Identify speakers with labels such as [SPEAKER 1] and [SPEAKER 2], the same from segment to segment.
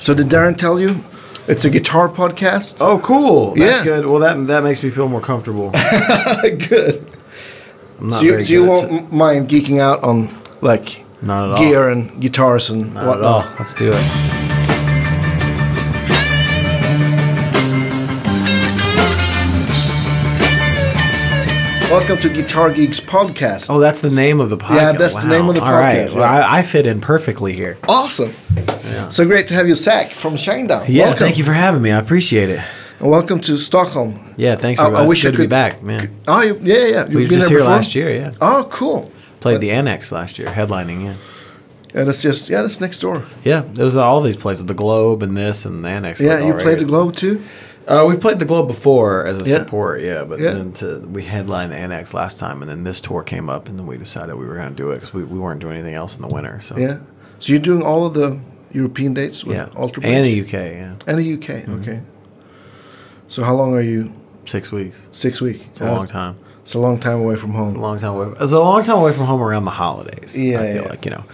[SPEAKER 1] So did Darren tell you? It's a guitar podcast.
[SPEAKER 2] Oh, cool. That's
[SPEAKER 1] Yeah.
[SPEAKER 2] good. Well, that that makes me feel more comfortable.
[SPEAKER 1] good.
[SPEAKER 2] I'm not
[SPEAKER 1] so you,
[SPEAKER 2] very
[SPEAKER 1] so you
[SPEAKER 2] good at
[SPEAKER 1] won't
[SPEAKER 2] it.
[SPEAKER 1] m- mind geeking out on like
[SPEAKER 2] Not at all.
[SPEAKER 1] gear and guitars and
[SPEAKER 2] Not at
[SPEAKER 1] whatnot.
[SPEAKER 2] all. Let's do it.
[SPEAKER 1] Welcome to Guitar Geeks podcast.
[SPEAKER 2] Oh, that's the name of the podcast.
[SPEAKER 1] Yeah, that's the
[SPEAKER 2] Wow.
[SPEAKER 1] name of the
[SPEAKER 2] All right.
[SPEAKER 1] podcast,
[SPEAKER 2] Well,
[SPEAKER 1] yeah.
[SPEAKER 2] I, I fit in perfectly here.
[SPEAKER 1] awesome! So great to have you, Zach from Shinedown.
[SPEAKER 2] Yeah,
[SPEAKER 1] welcome.
[SPEAKER 2] thank you for having me. I appreciate it.
[SPEAKER 1] And welcome to Stockholm.
[SPEAKER 2] Yeah, thanks
[SPEAKER 1] I-
[SPEAKER 2] for
[SPEAKER 1] I
[SPEAKER 2] it's
[SPEAKER 1] wish I
[SPEAKER 2] good to be
[SPEAKER 1] could-
[SPEAKER 2] back, man.
[SPEAKER 1] Oh, you, yeah, yeah. You've
[SPEAKER 2] We were
[SPEAKER 1] been there
[SPEAKER 2] just here
[SPEAKER 1] before?
[SPEAKER 2] last year, yeah.
[SPEAKER 1] Oh, cool.
[SPEAKER 2] Played the Annex last year, headlining, yeah.
[SPEAKER 1] Yeah, that's just yeah, that's next door.
[SPEAKER 2] Yeah, it was all these places, the Globe and this and the Annex. was
[SPEAKER 1] Yeah, you
[SPEAKER 2] all
[SPEAKER 1] played the
[SPEAKER 2] regulars.
[SPEAKER 1] Globe too.
[SPEAKER 2] Uh, we've played the Globe before as a
[SPEAKER 1] Yeah.
[SPEAKER 2] support, yeah, but
[SPEAKER 1] Yeah.
[SPEAKER 2] then to, we headlined the Annex last time, and then this tour came up, and then we decided we were going to do it because we, we weren't doing anything else in the winter. So
[SPEAKER 1] Yeah. So you're doing all of the European dates with
[SPEAKER 2] yeah,
[SPEAKER 1] Ultra
[SPEAKER 2] and
[SPEAKER 1] Bridge?
[SPEAKER 2] the UK, yeah,
[SPEAKER 1] and the UK.
[SPEAKER 2] Mm-hmm.
[SPEAKER 1] Okay. So how long are you?
[SPEAKER 2] six weeks.
[SPEAKER 1] Six weeks.
[SPEAKER 2] It's a long time.
[SPEAKER 1] It's a long time away from home.
[SPEAKER 2] A long time away. It's a long time away from home around the holidays.
[SPEAKER 1] Yeah,
[SPEAKER 2] I feel
[SPEAKER 1] yeah.
[SPEAKER 2] like you know,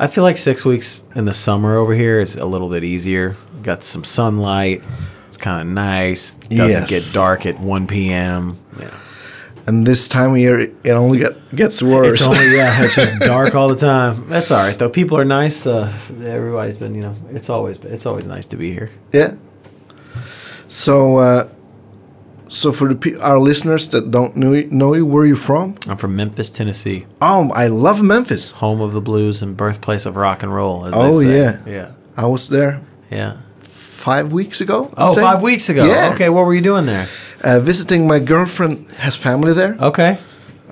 [SPEAKER 2] I feel like six weeks in the summer over here is a little bit easier. Got some sunlight. It's kind of nice.
[SPEAKER 1] Yes.
[SPEAKER 2] Doesn't get dark at one p.m. Yeah.
[SPEAKER 1] And this time of year, it it only get, gets worse.
[SPEAKER 2] It's only yeah, it's just dark all the time. That's all right though. People are nice. Uh, everybody's been you know. It's always it's always nice to be here.
[SPEAKER 1] yeah. So, uh, so for the pe- our listeners that don't know you, know you, where you from?
[SPEAKER 2] I'm from Memphis, Tennessee,
[SPEAKER 1] Oh, I love Memphis.
[SPEAKER 2] home of the blues and birthplace of rock and roll. As
[SPEAKER 1] Oh,
[SPEAKER 2] they say.
[SPEAKER 1] yeah.
[SPEAKER 2] yeah,
[SPEAKER 1] I was there
[SPEAKER 2] yeah.
[SPEAKER 1] five weeks ago.
[SPEAKER 2] Oh,
[SPEAKER 1] I'd say.
[SPEAKER 2] five weeks ago.
[SPEAKER 1] Yeah.
[SPEAKER 2] Okay, what were you doing there?
[SPEAKER 1] Uh, visiting my girlfriend has family there.
[SPEAKER 2] Okay,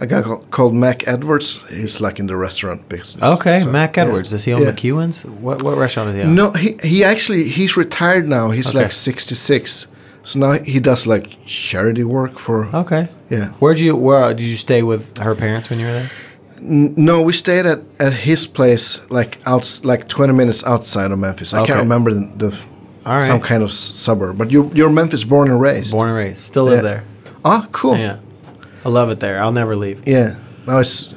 [SPEAKER 1] A guy called, called Mac Edwards. He's like in the restaurant business.
[SPEAKER 2] okay.
[SPEAKER 1] So,
[SPEAKER 2] Mac
[SPEAKER 1] yeah.
[SPEAKER 2] Edwards. Does he own
[SPEAKER 1] Yeah.
[SPEAKER 2] McEwen's? What what restaurant is he? Own?
[SPEAKER 1] No, he he actually he's retired now. He's
[SPEAKER 2] Okay.
[SPEAKER 1] like sixty six. So now he does like charity work for.
[SPEAKER 2] Okay.
[SPEAKER 1] Yeah.
[SPEAKER 2] Where'd you where uh, did you stay with her parents when you were there?
[SPEAKER 1] No, we stayed at, at his place like out like twenty minutes outside of Memphis. I
[SPEAKER 2] Okay.
[SPEAKER 1] can't remember the, the
[SPEAKER 2] All right.
[SPEAKER 1] some kind of s- suburb. But you're you're Memphis born and raised.
[SPEAKER 2] Born and raised. Still live
[SPEAKER 1] Yeah.
[SPEAKER 2] there.
[SPEAKER 1] Ah, cool.
[SPEAKER 2] Yeah. I love it there. I'll never leave.
[SPEAKER 1] Yeah. Now it's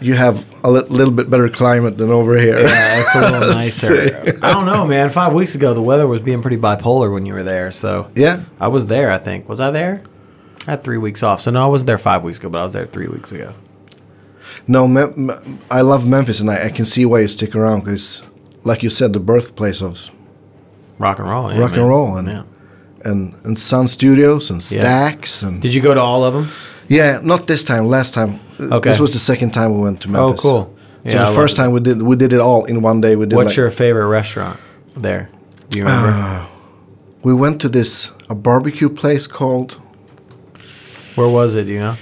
[SPEAKER 1] you have a li- little bit better climate than over here.
[SPEAKER 2] Yeah, it's a little nicer. I don't know, man. Five weeks ago, the weather was being pretty bipolar when you were there. So
[SPEAKER 1] Yeah?
[SPEAKER 2] I was there. I think was I there? I had three weeks off, so no, I was there five weeks ago, but I was there three weeks ago.
[SPEAKER 1] No, Mem- Mem- I love Memphis, and I, I can see why you stick around because, like you said, the birthplace of
[SPEAKER 2] Rock and roll, yeah,
[SPEAKER 1] Rock and
[SPEAKER 2] man.
[SPEAKER 1] roll and-
[SPEAKER 2] yeah.
[SPEAKER 1] and and Sun Studios and Stacks and
[SPEAKER 2] Did you go to all of them?
[SPEAKER 1] yeah, not this time. Last time, Uh,
[SPEAKER 2] Okay. Oh,
[SPEAKER 1] this was the second time we went to Memphis.
[SPEAKER 2] cool.
[SPEAKER 1] Oh, So
[SPEAKER 2] Yeah, I
[SPEAKER 1] the
[SPEAKER 2] love
[SPEAKER 1] first
[SPEAKER 2] it.
[SPEAKER 1] time we did we did it all in one day. We did
[SPEAKER 2] What's
[SPEAKER 1] like, Uh,
[SPEAKER 2] your favorite restaurant there? Do you remember
[SPEAKER 1] we went to this a barbecue place called
[SPEAKER 2] where was it? do You know,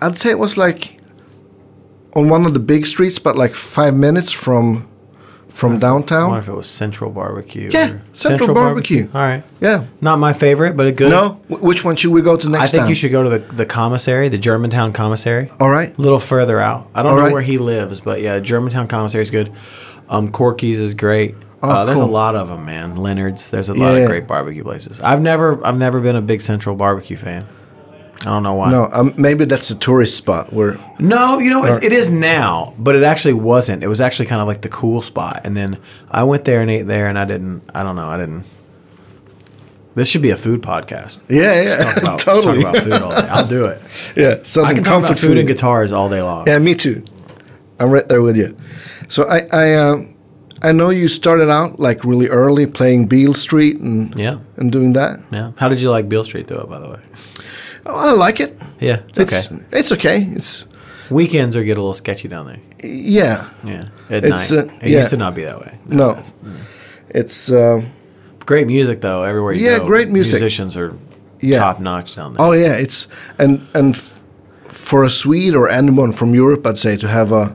[SPEAKER 1] I'd say it was like on one of the big streets, but like five minutes from from
[SPEAKER 2] I
[SPEAKER 1] downtown.
[SPEAKER 2] wonder if it was Central Barbecue.
[SPEAKER 1] Yeah,
[SPEAKER 2] or-
[SPEAKER 1] Central Barbecue.
[SPEAKER 2] All right,
[SPEAKER 1] Yeah.
[SPEAKER 2] not my favorite, but a good.
[SPEAKER 1] No, Wh- which one should we go to next
[SPEAKER 2] I think
[SPEAKER 1] time?
[SPEAKER 2] you should go to the, the commissary, the Germantown commissary.
[SPEAKER 1] All right.
[SPEAKER 2] A little further out. I don't
[SPEAKER 1] All
[SPEAKER 2] know
[SPEAKER 1] right.
[SPEAKER 2] where he lives, but yeah, Germantown Commissary is good. Um, Corky's is great. uh, there's
[SPEAKER 1] Oh, cool.
[SPEAKER 2] a lot of them, man. Leonard's. There's a lot
[SPEAKER 1] Yeah.
[SPEAKER 2] of great barbecue places. I've never, I've never been a big Central Barbecue fan. I don't know why.
[SPEAKER 1] No, um, maybe that's the tourist spot where.
[SPEAKER 2] No, you know, it, it is now, but it actually wasn't. It was actually kind of like the cool spot. And then I went there and ate there, and I didn't, I don't know, I didn't. This should be a food podcast.
[SPEAKER 1] Yeah, yeah,
[SPEAKER 2] Talk about,
[SPEAKER 1] totally.
[SPEAKER 2] talk about food all day. I'll do it.
[SPEAKER 1] yeah, something
[SPEAKER 2] I can talk
[SPEAKER 1] comfort
[SPEAKER 2] about food, and guitars all day long.
[SPEAKER 1] Yeah, me too. I'm right there with you. So I I um, I know you started out like really early playing Beale Street and
[SPEAKER 2] Yeah.
[SPEAKER 1] and doing that.
[SPEAKER 2] Yeah. How did you like Beale Street though, by the way?
[SPEAKER 1] Oh, I like it.
[SPEAKER 2] Yeah, it's, okay.
[SPEAKER 1] It's it's okay. It's
[SPEAKER 2] Weekends are get a little sketchy down there.
[SPEAKER 1] yeah.
[SPEAKER 2] Yeah, at
[SPEAKER 1] It's,
[SPEAKER 2] night.
[SPEAKER 1] uh,
[SPEAKER 2] it
[SPEAKER 1] yeah.
[SPEAKER 2] used to not be that way.
[SPEAKER 1] No. It's um,
[SPEAKER 2] Great music though, everywhere you
[SPEAKER 1] Yeah,
[SPEAKER 2] go.
[SPEAKER 1] great music.
[SPEAKER 2] Musicians are
[SPEAKER 1] Yeah.
[SPEAKER 2] top notch down there.
[SPEAKER 1] oh yeah, it's and and f- for a Swede or anyone from Europe, I'd say to have a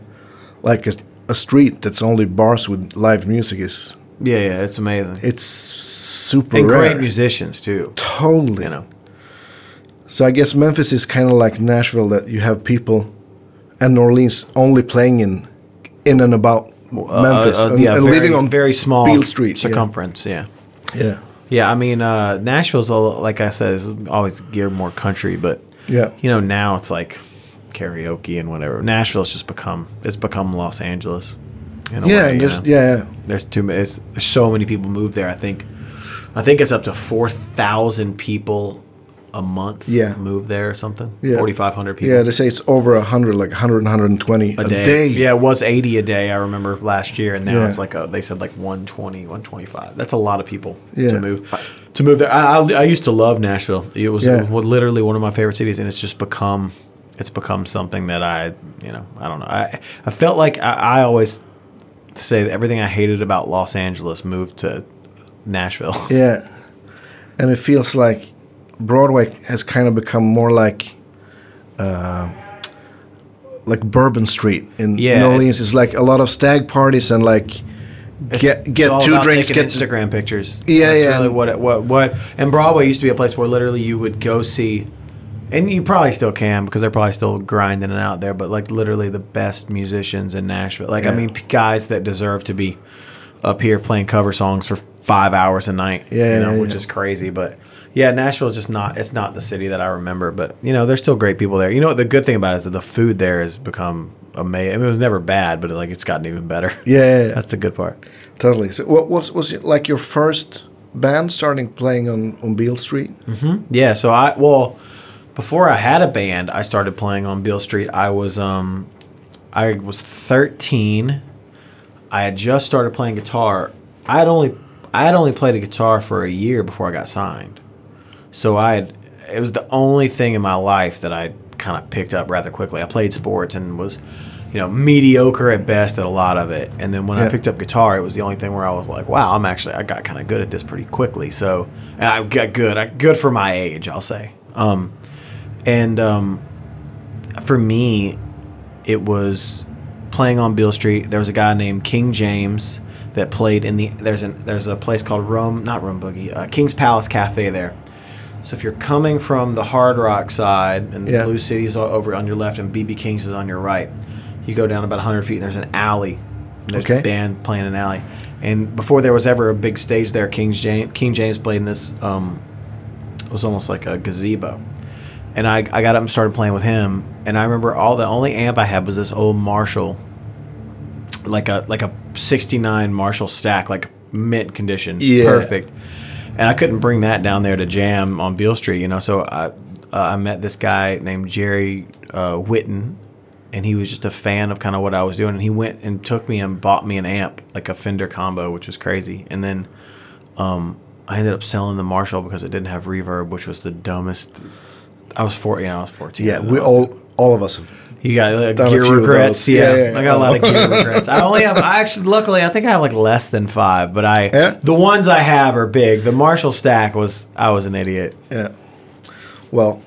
[SPEAKER 1] like a, a street that's only bars with live music is
[SPEAKER 2] Yeah, yeah, it's amazing.
[SPEAKER 1] it's super
[SPEAKER 2] and
[SPEAKER 1] rare.
[SPEAKER 2] great musicians too.
[SPEAKER 1] Totally.
[SPEAKER 2] You know.
[SPEAKER 1] So I guess Memphis is kind of like Nashville that you have people and New Orleans only playing in in and about Memphis
[SPEAKER 2] Uh, uh,
[SPEAKER 1] and,
[SPEAKER 2] yeah,
[SPEAKER 1] and
[SPEAKER 2] very,
[SPEAKER 1] living on
[SPEAKER 2] very small
[SPEAKER 1] Beale Street. yeah.
[SPEAKER 2] circumference. Yeah.
[SPEAKER 1] Yeah. yeah.
[SPEAKER 2] Yeah, I mean, uh, Nashville's a, like I said is always geared more country, but
[SPEAKER 1] Yeah.
[SPEAKER 2] you know now it's like karaoke and whatever. Nashville's just become it's become Los Angeles. in
[SPEAKER 1] yeah,
[SPEAKER 2] a way, you
[SPEAKER 1] and there's,
[SPEAKER 2] know?
[SPEAKER 1] yeah, yeah.
[SPEAKER 2] There's too many. It's, there's so many people move there. I think, I think it's up to four thousand people a month.
[SPEAKER 1] Yeah.
[SPEAKER 2] move there or something.
[SPEAKER 1] Yeah.
[SPEAKER 2] Forty five hundred people
[SPEAKER 1] Yeah, they say it's over 100, like 100, 120
[SPEAKER 2] a day. Yeah, it was eighty a day. I remember last year, and now
[SPEAKER 1] Yeah.
[SPEAKER 2] it's like a, they said like 120, 125. That's a lot of people
[SPEAKER 1] Yeah.
[SPEAKER 2] to move to move there. I, I, I used to love Nashville. It was
[SPEAKER 1] Yeah.
[SPEAKER 2] literally one of my favorite cities, and it's just become it's become something that I you know I don't know. I I felt like I, I always say that everything I hated about Los Angeles moved to Nashville.
[SPEAKER 1] Yeah. And it feels like Broadway has kind of become more like uh, like Bourbon Street in
[SPEAKER 2] Yeah,
[SPEAKER 1] New Orleans.
[SPEAKER 2] it's-
[SPEAKER 1] It's, like a lot of stag parties and like
[SPEAKER 2] It's-
[SPEAKER 1] get
[SPEAKER 2] it's all
[SPEAKER 1] get two
[SPEAKER 2] about
[SPEAKER 1] drinks,
[SPEAKER 2] taking
[SPEAKER 1] get to-
[SPEAKER 2] Instagram pictures.
[SPEAKER 1] Yeah,
[SPEAKER 2] That's
[SPEAKER 1] yeah.
[SPEAKER 2] Really what it, what what and Broadway used to be a place where literally you would go see, and you probably still can because they're probably still grinding it out there. But like literally the best musicians in Nashville. Like I
[SPEAKER 1] Yeah.
[SPEAKER 2] mean, p- guys that deserve to be up here playing cover songs for five hours a night.
[SPEAKER 1] Yeah,
[SPEAKER 2] you know,
[SPEAKER 1] yeah,
[SPEAKER 2] which
[SPEAKER 1] yeah.
[SPEAKER 2] is crazy, but. Yeah, Nashville's just not it's not the city that I remember, but you know, there's still great people there. You know what the good thing about it is that the food there has become amazing. I mean, it was never bad, but like it's gotten even better.
[SPEAKER 1] Yeah, yeah, yeah.
[SPEAKER 2] That's the good part.
[SPEAKER 1] totally. So what was was it like your first band starting playing on on Beale Street?
[SPEAKER 2] Yeah, so I well, before I had a band, I started playing on Beale Street. I was um I was 13. I had just started playing guitar. I had only I had only played a guitar for a year before I got signed. So I had it was the only thing in my life that I kind of picked up rather quickly. I played sports and was you know mediocre at best at a lot of it. And then when I
[SPEAKER 1] Yeah.
[SPEAKER 2] picked up guitar, it was the only thing where I was like, wow, I'm actually I got kind of good at this pretty quickly. So and I got good, I, good for my age, I'll say. Um, and um, for me, it was playing on Beale Street. There was a guy named King James that played in the there's an there's a place called Rome not Rome Boogie uh, King's Palace Cafe there. So if you're coming from the Hard Rock side and
[SPEAKER 1] Yeah.
[SPEAKER 2] Blue City's o- over on your left and BB King's is on your right, you go down about 100 feet and there's an alley. And There's
[SPEAKER 1] Okay.
[SPEAKER 2] a band playing in an alley, and before there was ever a big stage there, King James King James played in this um, it was almost like a gazebo. And I, I got up and started playing with him. And I remember all the only amp I had was this old Marshall, like a like a '69 Marshall stack, like mint condition,
[SPEAKER 1] Yeah.
[SPEAKER 2] perfect. And I couldn't bring that down there to jam on Beale Street, you know. So I uh, I met this guy named Jerry uh, Whitten, and he was just a fan of kind of what I was doing. And he went and took me and bought me an amp, like a Fender combo, which was crazy. And then um, I ended up selling the Marshall because it didn't have reverb, which was the dumbest. I was four, you know, I was fourteen.
[SPEAKER 1] Yeah,
[SPEAKER 2] and
[SPEAKER 1] we
[SPEAKER 2] I was
[SPEAKER 1] all all of us. Have,
[SPEAKER 2] you got like,
[SPEAKER 1] Done a
[SPEAKER 2] gear
[SPEAKER 1] few of
[SPEAKER 2] regrets.
[SPEAKER 1] those.
[SPEAKER 2] Yeah.
[SPEAKER 1] Yeah, yeah,
[SPEAKER 2] I got a
[SPEAKER 1] yeah.
[SPEAKER 2] lot of gear regrets. I only have, I actually, luckily, I think I have like less than five, but I,
[SPEAKER 1] Yeah.
[SPEAKER 2] the ones I have are big. The Marshall stack was, I was an idiot.
[SPEAKER 1] yeah. Well,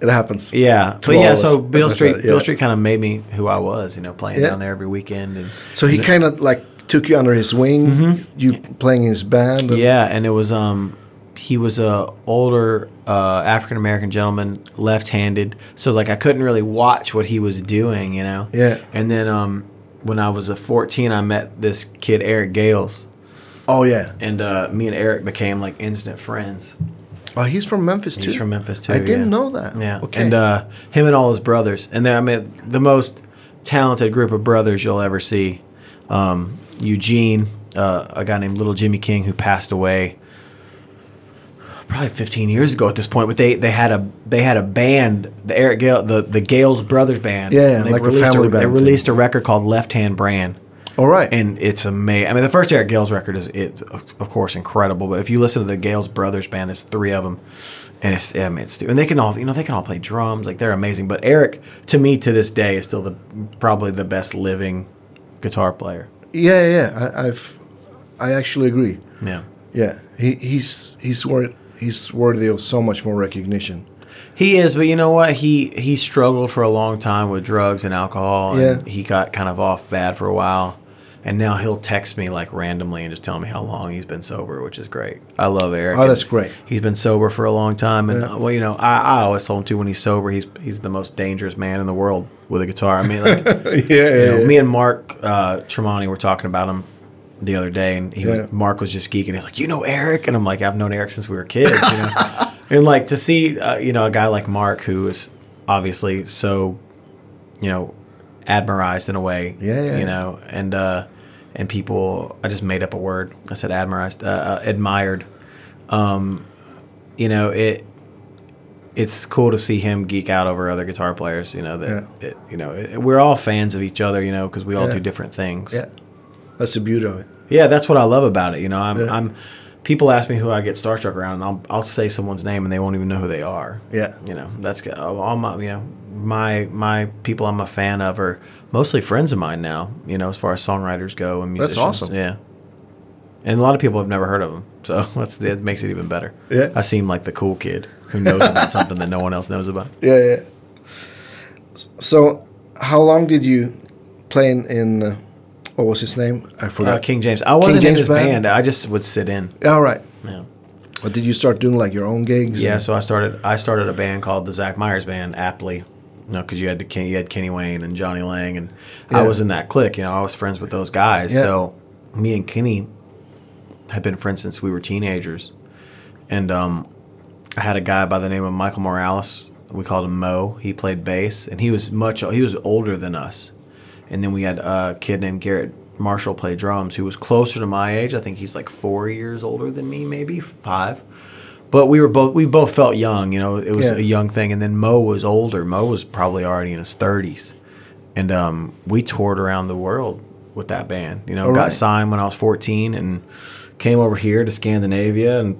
[SPEAKER 1] it happens.
[SPEAKER 2] Yeah.
[SPEAKER 1] To
[SPEAKER 2] But
[SPEAKER 1] all
[SPEAKER 2] yeah,
[SPEAKER 1] of us,
[SPEAKER 2] so
[SPEAKER 1] as
[SPEAKER 2] Bill
[SPEAKER 1] I
[SPEAKER 2] Street,
[SPEAKER 1] said,
[SPEAKER 2] Bill
[SPEAKER 1] yeah.
[SPEAKER 2] Street kind of made me who I was, you know, playing
[SPEAKER 1] Yeah.
[SPEAKER 2] down there every weekend. And
[SPEAKER 1] So he kind of like took you under his wing. You playing in his band. and-
[SPEAKER 2] Mm-hmm. Yeah, and it was um he was a older uh, African American gentleman, left-handed, so like I couldn't really watch what he was doing, you know.
[SPEAKER 1] Yeah.
[SPEAKER 2] And then um when I was a 14, I met this kid Eric Gales,
[SPEAKER 1] Oh yeah.
[SPEAKER 2] and uh, me and Eric became like instant friends.
[SPEAKER 1] Oh, he's from Memphis too.
[SPEAKER 2] He's from Memphis too.
[SPEAKER 1] I didn't
[SPEAKER 2] yeah.
[SPEAKER 1] know that.
[SPEAKER 2] Yeah.
[SPEAKER 1] Okay.
[SPEAKER 2] And uh, him and all his brothers, and then I mean the most talented group of brothers you'll ever see. Um, Eugene, uh, a guy named Little Jimmy King who passed away probably 15 years ago at this point. But they they had a they had a band, the Eric Gale, the the Gales brothers band.
[SPEAKER 1] Yeah,
[SPEAKER 2] and they
[SPEAKER 1] like a
[SPEAKER 2] released
[SPEAKER 1] family
[SPEAKER 2] They
[SPEAKER 1] band thing.
[SPEAKER 2] released a record called Left Hand Brand
[SPEAKER 1] all right.
[SPEAKER 2] and it's amazing. I mean, the first Eric Gales record is, it's of course incredible, but if you listen to the Gales Brothers band, there's three of them, and it's I mean, it's and they can all you know they can all play drums like they're amazing. But Eric, to me, to this day, is still the probably the best living guitar player.
[SPEAKER 1] yeah, yeah. I, I've, I actually agree.
[SPEAKER 2] Yeah,
[SPEAKER 1] Yeah, he, he's he's worth he's worthy of so much more recognition.
[SPEAKER 2] he is. But you know what? He he struggled for a long time with drugs and alcohol, and
[SPEAKER 1] Yeah.
[SPEAKER 2] he got kind of off bad for a while. And now he'll text me like randomly and just tell me how long he's been sober, which is great. I love Eric.
[SPEAKER 1] Oh,
[SPEAKER 2] and-
[SPEAKER 1] that's great.
[SPEAKER 2] He's been sober for a long time, and
[SPEAKER 1] Yeah.
[SPEAKER 2] uh, well, you know, I, I always told him too when he's sober, he's he's the most dangerous man in the world with a guitar. I mean, like,
[SPEAKER 1] yeah, yeah,
[SPEAKER 2] you know,
[SPEAKER 1] yeah.
[SPEAKER 2] me and Mark uh, Tremonti were talking about him the other day, and he
[SPEAKER 1] Yeah.
[SPEAKER 2] was, Mark was just geeking. He's like, "You know Eric?" And I'm like, "I've known Eric since we were kids." You know, and like to see uh, you know a guy like Mark who is obviously so you know admirized in a way.
[SPEAKER 1] Yeah, yeah,
[SPEAKER 2] You
[SPEAKER 1] yeah.
[SPEAKER 2] know, and uh, and people, I just made up a word. I said admirized, uh, uh, admired. Um, you know it. It's cool to see him geek out over other guitar players. You know that
[SPEAKER 1] Yeah.
[SPEAKER 2] it, you know it, we're all fans of each other. You know because we all
[SPEAKER 1] Yeah.
[SPEAKER 2] do different things.
[SPEAKER 1] Yeah, that's the beauty of it.
[SPEAKER 2] Yeah, that's what I love about it. You know, I'm,
[SPEAKER 1] Yeah.
[SPEAKER 2] I'm people ask me who I get starstruck around, and I'll, I'll say someone's name, and they won't even know who they are.
[SPEAKER 1] Yeah.
[SPEAKER 2] you know, that's all my, you know, my my people I'm a fan of are mostly friends of mine now. You know, as far as songwriters go and
[SPEAKER 1] That's
[SPEAKER 2] musicians.
[SPEAKER 1] awesome.
[SPEAKER 2] Yeah, and a lot of people have never heard of them, so that's that makes it even better.
[SPEAKER 1] Yeah.
[SPEAKER 2] I seem like the cool kid who knows about something that no one else knows about.
[SPEAKER 1] Yeah, yeah. S- So, how long did you play in? in uh, what was his name? I
[SPEAKER 2] Uh,
[SPEAKER 1] forgot.
[SPEAKER 2] King James. I wasn't in
[SPEAKER 1] James
[SPEAKER 2] his
[SPEAKER 1] Band?
[SPEAKER 2] band. I just would sit in.
[SPEAKER 1] All right.
[SPEAKER 2] Yeah.
[SPEAKER 1] But did you start doing like your own gigs?
[SPEAKER 2] Yeah, so I started. I started a band called the Zach Myers Band, aptly, you know, because you had to Ken- you had Kenny Wayne and Johnny Lang, and I
[SPEAKER 1] Yeah.
[SPEAKER 2] was in that clique. You know, I was friends with those guys.
[SPEAKER 1] Yeah.
[SPEAKER 2] So me and Kenny had been friends since we were teenagers, and um, I had a guy by the name of Michael Morales. We called him Mo. He played bass, and he was much he was older than us. And then we had a kid named Garrett Marshall play drums, who was closer to my age. I think he's like four years older than me, maybe five. But we were both we both felt young, you know. It was
[SPEAKER 1] Yeah.
[SPEAKER 2] a young thing, and then Mo was older. Mo was probably already in his thirties, and um, we toured around the world with that band. You know,
[SPEAKER 1] All
[SPEAKER 2] got
[SPEAKER 1] right.
[SPEAKER 2] signed when I was fourteen, and came over here to Scandinavia and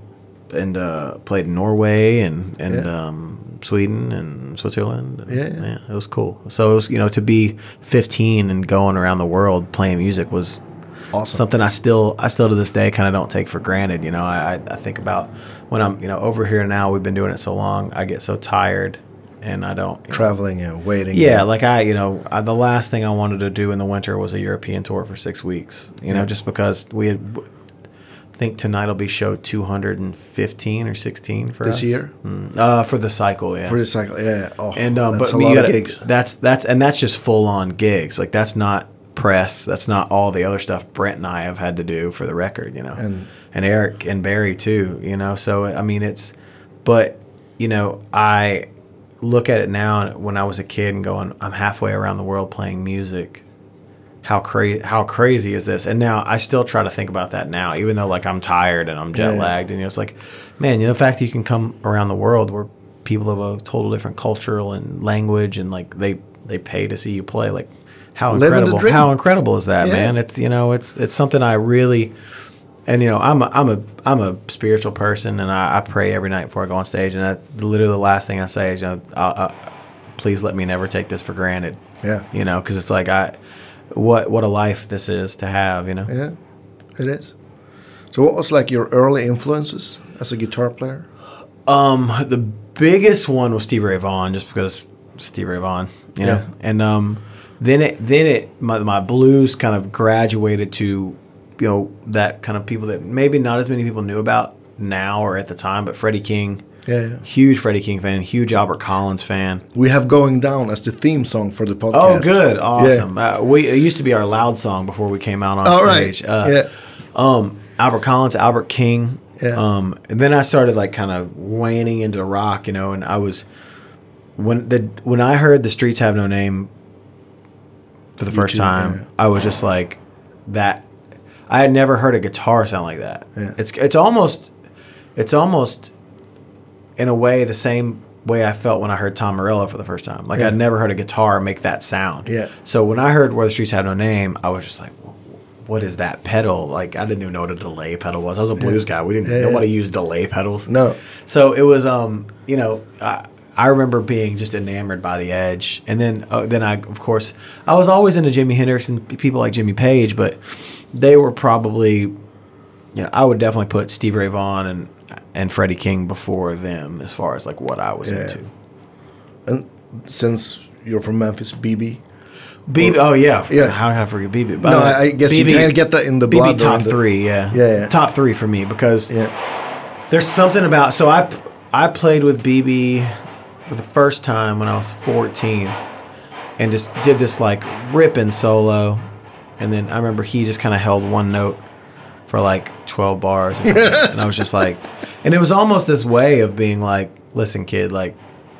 [SPEAKER 2] and uh, played in Norway and and
[SPEAKER 1] Yeah.
[SPEAKER 2] um, Sweden and Switzerland. And,
[SPEAKER 1] Yeah, yeah.
[SPEAKER 2] it was cool. So it was you know to be fifteen and going around the world playing music was
[SPEAKER 1] Awesome.
[SPEAKER 2] something I still I still to this day kind of don't take for granted. You know, I, I I think about when I'm you know over here now. We've been doing it so long. I get so tired, and I don't. you know,
[SPEAKER 1] Traveling and waiting.
[SPEAKER 2] yeah, like I, you know, I, the last thing I wanted to do in the winter was a European tour for six weeks. You know, just because we had. I think tonight will be show 215 or 16 for
[SPEAKER 1] This
[SPEAKER 2] us.
[SPEAKER 1] year?
[SPEAKER 2] Mm, uh, for the cycle, yeah.
[SPEAKER 1] for the cycle. Yeah. yeah. Oh,
[SPEAKER 2] and um,
[SPEAKER 1] that's
[SPEAKER 2] but
[SPEAKER 1] a
[SPEAKER 2] you
[SPEAKER 1] lot
[SPEAKER 2] gotta,
[SPEAKER 1] of gigs.
[SPEAKER 2] that's that's and that's just full on gigs. Like that's not press. That's not all the other stuff Brent and I have had to do for the record. You know,
[SPEAKER 1] And-
[SPEAKER 2] and Eric and Barry too. You know, so I mean it's, but you know I look at it now and when I was a kid and going I'm halfway around the world playing music. How crazy! How crazy is this? And now I still try to think about that now, even though like I'm tired and I'm jet
[SPEAKER 1] Yeah.
[SPEAKER 2] lagged, and you know, it's like, man, you know, the fact that you can come around the world where people of a total different cultural and language and like they they pay to see you play, like how
[SPEAKER 1] Living the
[SPEAKER 2] incredible!
[SPEAKER 1] dream.
[SPEAKER 2] How incredible is that,
[SPEAKER 1] Yeah.
[SPEAKER 2] man? It's you know, it's it's something I really and you know I'm a I'm a I'm a spiritual person, and I, I pray every night before I go on stage. And that's literally the last thing I say is, you know, I, I, please let me never take this for granted.
[SPEAKER 1] Yeah.
[SPEAKER 2] You know, because it's like I, what what a life this is to have. You know,
[SPEAKER 1] Yeah, it is. So, what was like your early influences as a guitar player?
[SPEAKER 2] um, the biggest one was Stevie Ray Vaughan, just because Stevie Ray Vaughan. You know,
[SPEAKER 1] Yeah.
[SPEAKER 2] and um, then it then it my, my blues kind of graduated to you know that kind of people that maybe not as many people knew about now or at the time, but Freddie King.
[SPEAKER 1] Yeah, yeah.
[SPEAKER 2] Huge Freddie King fan, huge Albert Collins fan.
[SPEAKER 1] We have "Going Down" as the theme song for the podcast.
[SPEAKER 2] Oh, good, awesome. Uh, we it used to be our loud song before we came out on
[SPEAKER 1] All right.
[SPEAKER 2] stage. Uh,
[SPEAKER 1] yeah.
[SPEAKER 2] Um, Albert Collins, Albert King.
[SPEAKER 1] Yeah.
[SPEAKER 2] Um, and then I started like kind of waning into rock, you know, and I was when the when I heard the streets have no name for the first
[SPEAKER 1] too,
[SPEAKER 2] time,
[SPEAKER 1] yeah.
[SPEAKER 2] I was just like that. I had never heard a guitar sound like that.
[SPEAKER 1] Yeah.
[SPEAKER 2] It's it's almost it's almost in a way the same way I felt when I heard Tom Morello for the first time. Like
[SPEAKER 1] Yeah.
[SPEAKER 2] I'd never heard a guitar make that sound.
[SPEAKER 1] Yeah.
[SPEAKER 2] So when I heard Where the Streets Had No Name, I was just like, what is that pedal? Like I didn't even know what a delay pedal was. I was a blues guy. We didn't
[SPEAKER 1] Yeah, yeah.
[SPEAKER 2] nobody used delay pedals.
[SPEAKER 1] No.
[SPEAKER 2] So it was, um, you know, I, I remember being just enamored by the Edge, and then uh, then I of course I was always into Jimi Hendrix and p- people like Jimmy Page, but they were probably, you know, I would definitely put Stevie Ray Vaughan and and Freddie King before them as far as like what I was
[SPEAKER 1] Yeah.
[SPEAKER 2] into.
[SPEAKER 1] And since you're from Memphis, BB.
[SPEAKER 2] BB, oh yeah,
[SPEAKER 1] Yeah.
[SPEAKER 2] How can I forget BB?
[SPEAKER 1] No, I- I guess you can't get that in the
[SPEAKER 2] BB
[SPEAKER 1] blood or
[SPEAKER 2] top
[SPEAKER 1] in the-
[SPEAKER 2] three, yeah.
[SPEAKER 1] Yeah, yeah.
[SPEAKER 2] top three for me because
[SPEAKER 1] Yeah.
[SPEAKER 2] There's something about so I I played with BB for the first time when I was 14 and just did this like ripping solo and then I remember he just kind of held one note for like 12 bars or something, and I was just like and it was almost this way of being like listen kid like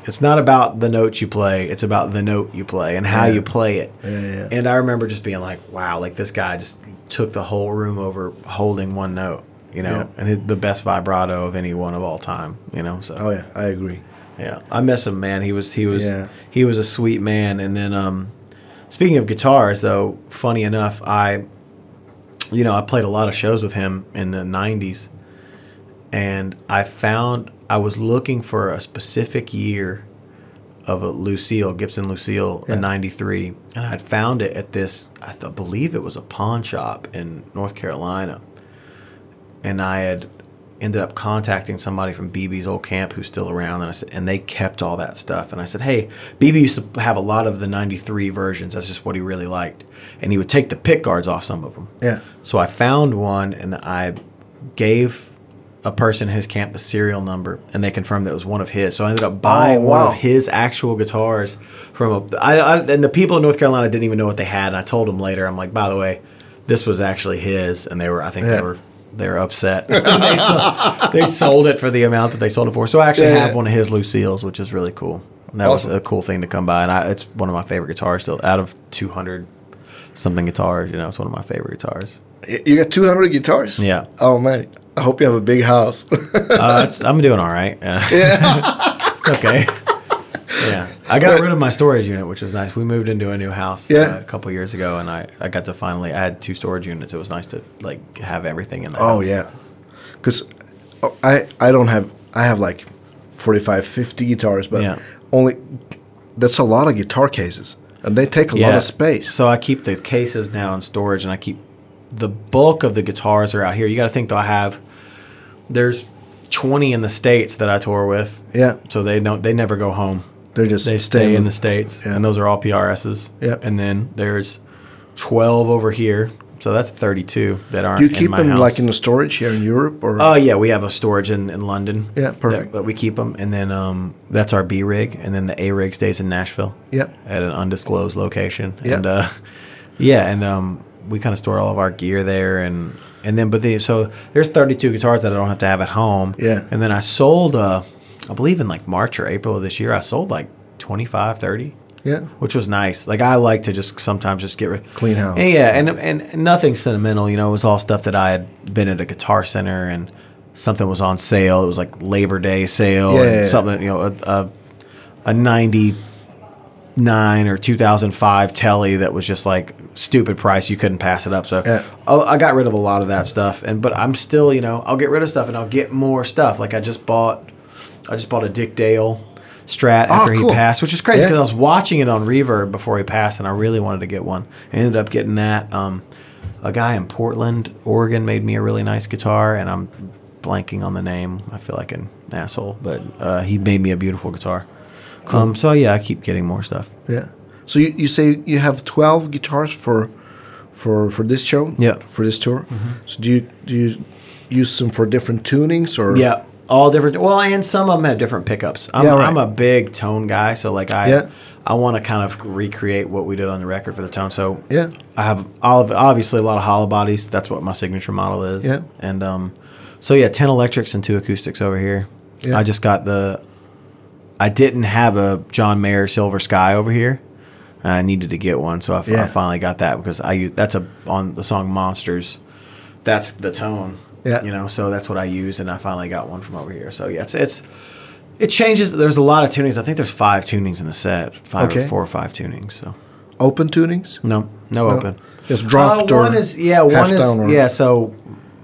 [SPEAKER 2] It's not about the notes you play. It's about the note you play and how
[SPEAKER 1] Yeah.
[SPEAKER 2] you play it.
[SPEAKER 1] Yeah, yeah.
[SPEAKER 2] And I remember just being like, wow, like this guy just took the whole room over holding one note, you know,
[SPEAKER 1] Yeah.
[SPEAKER 2] and his, the best vibrato of anyone of all time, you know. So
[SPEAKER 1] Oh yeah, I agree.
[SPEAKER 2] yeah, I miss him, man. He was he was
[SPEAKER 1] Yeah.
[SPEAKER 2] he was a sweet man. And then, um, speaking of guitars, though, funny enough, I, you know, I played a lot of shows with him in the '90s, and I found I was looking for a specific year of a Lucille Gibson Lucille
[SPEAKER 1] Yeah.
[SPEAKER 2] in '93, and I had found it at this I th- believe it was a pawn shop in North Carolina, and I had ended up contacting somebody from BB's old camp who's still around, and I said, and they kept all that stuff, and I said, hey, BB used to have a lot of the '93 versions. That's just what he really liked, and he would take the pick guards off some of them.
[SPEAKER 1] Yeah.
[SPEAKER 2] So I found one and I gave a person in his camp the serial number and they confirmed that it was one of his. So I ended up buying
[SPEAKER 1] Oh,
[SPEAKER 2] one
[SPEAKER 1] wow.
[SPEAKER 2] of his actual guitars from a. I, I, and the people in North Carolina didn't even know what they had. And I told them later, I'm like, by the way, this was actually his. And they were, I think
[SPEAKER 1] Yeah.
[SPEAKER 2] they were. they were upset. they, sold, they sold it for the amount that they sold it for. So I actually
[SPEAKER 1] Yeah,
[SPEAKER 2] have
[SPEAKER 1] yeah.
[SPEAKER 2] one of his Lucille's, which is really cool. And that
[SPEAKER 1] Awesome.
[SPEAKER 2] was a cool thing to come by, and I, it's one of my favorite guitars. Still, out of two hundred something guitars, you know, it's one of my favorite guitars.
[SPEAKER 1] Y- You got 200 guitars?
[SPEAKER 2] Yeah.
[SPEAKER 1] Oh man, I hope you have a big house.
[SPEAKER 2] Uh, it's, I'm doing all right. Yeah. it's okay. Yeah. I got rid of my storage unit, which was nice. We moved into a new house uh,
[SPEAKER 1] Yeah.
[SPEAKER 2] a couple years ago, and I, I got to finally. I had two storage units. It was nice to like have everything in the
[SPEAKER 1] oh
[SPEAKER 2] house.
[SPEAKER 1] yeah. Cuz oh, I I don't have I have like 45 50 guitars but
[SPEAKER 2] Yeah.
[SPEAKER 1] only that's a lot of guitar cases and they take a lot of space.
[SPEAKER 2] So I keep the cases now in storage, and I keep the bulk of the guitars are out here. You got to think though, I have there's 20 in the states that I tour with.
[SPEAKER 1] Yeah.
[SPEAKER 2] So they don't. They never go home.
[SPEAKER 1] They're just
[SPEAKER 2] They stay in the
[SPEAKER 1] staying-
[SPEAKER 2] states,
[SPEAKER 1] yeah.
[SPEAKER 2] and those are all PRSs.
[SPEAKER 1] Yeah.
[SPEAKER 2] And then there's twelve over here, so that's thirty-two that aren't.
[SPEAKER 1] Do you keep
[SPEAKER 2] in my
[SPEAKER 1] them
[SPEAKER 2] house.
[SPEAKER 1] like in the storage here in Europe or
[SPEAKER 2] Oh yeah, we have a storage in, in London.
[SPEAKER 1] Yeah,
[SPEAKER 2] that-
[SPEAKER 1] perfect.
[SPEAKER 2] But we keep them, and then um, that's our B rig, and then the A rig stays in Nashville.
[SPEAKER 1] Yeah.
[SPEAKER 2] At an undisclosed location.
[SPEAKER 1] Yeah.
[SPEAKER 2] And uh, yeah, and um, we kind of store all of our gear there, and and then but the so there's 32 guitars that I don't have to have at home.
[SPEAKER 1] Yeah.
[SPEAKER 2] And then I sold, uh, I believe in like March or April of this year, I sold like 25, 30
[SPEAKER 1] Yeah.
[SPEAKER 2] which was nice. Like I like to just sometimes just get rid
[SPEAKER 1] Clean house.
[SPEAKER 2] And yeah, and and nothing sentimental. You know, it was all stuff that I had been at a guitar center and something was on sale. It was like Labor Day sale
[SPEAKER 1] Yeah,
[SPEAKER 2] and
[SPEAKER 1] yeah, yeah.
[SPEAKER 2] something. You know, a a, a ninety nine or two thousand five telly that was just like stupid price. You couldn't pass it up. So
[SPEAKER 1] Yeah.
[SPEAKER 2] I, I got rid of a lot of that stuff. And but I'm still, you know, I'll get rid of stuff and I'll get more stuff. Like I just bought, I just bought a Dick Dale Strat after
[SPEAKER 1] Oh, cool.
[SPEAKER 2] he passed, which is crazy
[SPEAKER 1] Yeah.
[SPEAKER 2] because I was watching it on Reverb before he passed, and I really wanted to get one. I ended up getting that. Um, a guy in Portland, Oregon, made me a really nice guitar, and I'm blanking on the name. I feel like an asshole, but uh, he made me a beautiful guitar. Um, so yeah, I keep getting more stuff.
[SPEAKER 1] Yeah. So you, you say you have 12 guitars for for for this show?
[SPEAKER 2] Yeah. Mm-hmm.
[SPEAKER 1] For this tour? So do you do you use them for different tunings or
[SPEAKER 2] Yeah, all different. Well, and some of them have different pickups. I'm,
[SPEAKER 1] Yeah, right.
[SPEAKER 2] I'm a big tone guy, so like I,
[SPEAKER 1] Yeah.
[SPEAKER 2] I want to kind of recreate what we did on the record for the tone. So
[SPEAKER 1] Yeah.
[SPEAKER 2] I have all of, obviously a lot of hollow bodies. That's what my signature model is.
[SPEAKER 1] Yeah.
[SPEAKER 2] and um, so yeah, ten electrics and two acoustics over here.
[SPEAKER 1] Yeah.
[SPEAKER 2] I just got the. I didn't have a John Mayer Silver Sky over here. I needed to get one, so I, fi- I
[SPEAKER 1] Yeah.
[SPEAKER 2] finally got that because I use that's a on the song Monsters. That's the tone.
[SPEAKER 1] Yeah.
[SPEAKER 2] You know, so that's what I use, and I finally got one from over here. So yeah, it's it's it changes. There's a lot of tunings. I think there's five tunings in the set. Five,
[SPEAKER 1] Okay.
[SPEAKER 2] or four or five tunings. So
[SPEAKER 1] open tunings?
[SPEAKER 2] no, no, open.
[SPEAKER 1] Just dropped
[SPEAKER 2] Uh,
[SPEAKER 1] or
[SPEAKER 2] one is yeah,
[SPEAKER 1] half
[SPEAKER 2] one is
[SPEAKER 1] down or-
[SPEAKER 2] yeah. So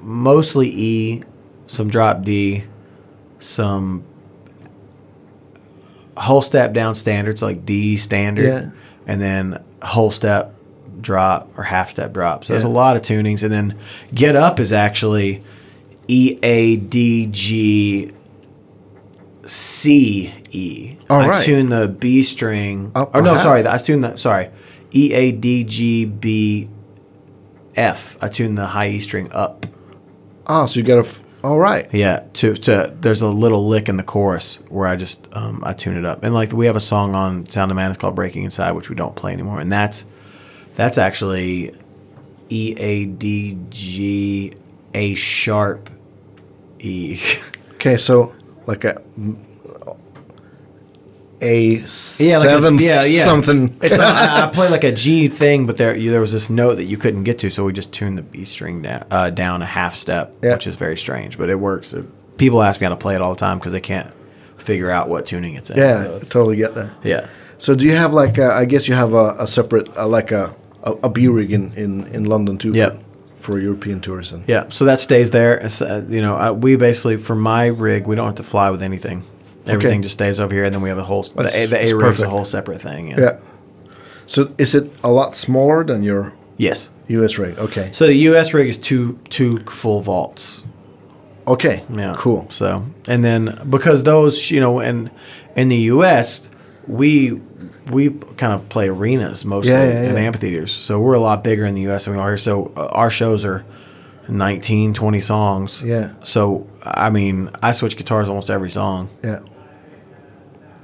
[SPEAKER 2] mostly E, some drop D, some whole step down standards like D standard,
[SPEAKER 1] Yeah.
[SPEAKER 2] and then whole step drop or half step drop. So there's a
[SPEAKER 1] Yeah.
[SPEAKER 2] lot of tunings, and then get up is actually E A D G C E.
[SPEAKER 1] All
[SPEAKER 2] I
[SPEAKER 1] right.
[SPEAKER 2] tune the B string.
[SPEAKER 1] Up
[SPEAKER 2] or
[SPEAKER 1] or
[SPEAKER 2] no,
[SPEAKER 1] half?
[SPEAKER 2] sorry, I tune the sorry E A D G B F. I tune the high E string up.
[SPEAKER 1] Ah, so you got a f- All right.
[SPEAKER 2] Yeah, to to there's a little lick in the chorus where I just um, I tune it up, and like we have a song on Sound of Madness called "Breaking Inside," which we don't play anymore, and that's that's actually E A D G A sharp E.
[SPEAKER 1] Okay, so like a A
[SPEAKER 2] Yeah, like a-
[SPEAKER 1] seven
[SPEAKER 2] yeah, yeah.
[SPEAKER 1] something.
[SPEAKER 2] It's not- I I play like a G thing, but there you, there was this note that you couldn't get to, so we just tuned the B string down, uh, down a half step,
[SPEAKER 1] Yeah.
[SPEAKER 2] which is very strange, but it works. It- people ask me how to play it all the time because they can't figure out what tuning it's in.
[SPEAKER 1] yeah,
[SPEAKER 2] So it's-
[SPEAKER 1] totally get that.
[SPEAKER 2] yeah.
[SPEAKER 1] So do you have like a, I guess you have a, a separate uh, like a a, a B rig in, in in London too.
[SPEAKER 2] Yep.
[SPEAKER 1] For, for European tours and
[SPEAKER 2] Yeah, so that stays there. It's, uh, you know, I, we basically for my rig, we don't have to fly with anything. Everything just stays over here, and then we have a whole the
[SPEAKER 1] That's-
[SPEAKER 2] A, the
[SPEAKER 1] that's
[SPEAKER 2] A rig is a
[SPEAKER 1] perfect.
[SPEAKER 2] whole separate thing. Yeah.
[SPEAKER 1] yeah. So is it a lot smaller than your
[SPEAKER 2] Yes.
[SPEAKER 1] U.S. rig? Okay.
[SPEAKER 2] So the U.S. rig is two two full vaults.
[SPEAKER 1] Okay.
[SPEAKER 2] Yeah.
[SPEAKER 1] Cool.
[SPEAKER 2] So, and then because those, you know, and in the U.S., we we kind of play arenas mostly
[SPEAKER 1] Yeah, yeah,
[SPEAKER 2] and
[SPEAKER 1] yeah.
[SPEAKER 2] amphitheaters. So we're a lot bigger in the U.S. than we are here. So uh, our shows are 19, 20 songs.
[SPEAKER 1] Yeah.
[SPEAKER 2] So I mean, I switch guitars almost every song.
[SPEAKER 1] Yeah.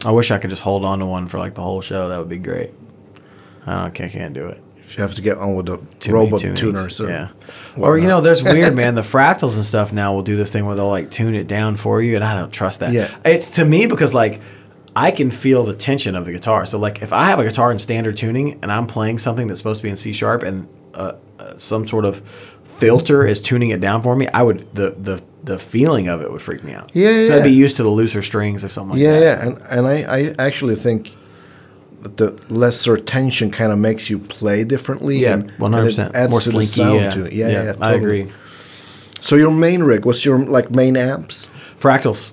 [SPEAKER 2] I wish I could just hold on to one for like the whole show. That would be great. I don't, I can't do it.
[SPEAKER 1] You have to get on with the
[SPEAKER 2] Too many
[SPEAKER 1] robot
[SPEAKER 2] tunings.
[SPEAKER 1] tuner. So.
[SPEAKER 2] yeah. Or you know, there's weird man. The fractals and stuff now will do this thing where they'll like tune it down for you, and I don't trust that.
[SPEAKER 1] Yeah.
[SPEAKER 2] It's to me because like I can feel the tension of the guitar. So like if I have a guitar in standard tuning and I'm playing something that's supposed to be in C sharp and uh, uh, some sort of filter is tuning it down for me, I would the the the feeling of it would freak me out.
[SPEAKER 1] Yeah,
[SPEAKER 2] So I'd be
[SPEAKER 1] yeah.
[SPEAKER 2] used to the looser strings or something like
[SPEAKER 1] Yeah,
[SPEAKER 2] that.
[SPEAKER 1] yeah, and and I, I actually think that the lesser tension kind of makes you play differently.
[SPEAKER 2] Yeah,
[SPEAKER 1] and- and it
[SPEAKER 2] one hundred percent.
[SPEAKER 1] adds
[SPEAKER 2] More
[SPEAKER 1] to the
[SPEAKER 2] slinky.
[SPEAKER 1] sound
[SPEAKER 2] yeah.
[SPEAKER 1] to it. yeah, yeah,
[SPEAKER 2] I
[SPEAKER 1] totally.
[SPEAKER 2] agree.
[SPEAKER 1] So your main rig, what's your like main amps?
[SPEAKER 2] Fractals.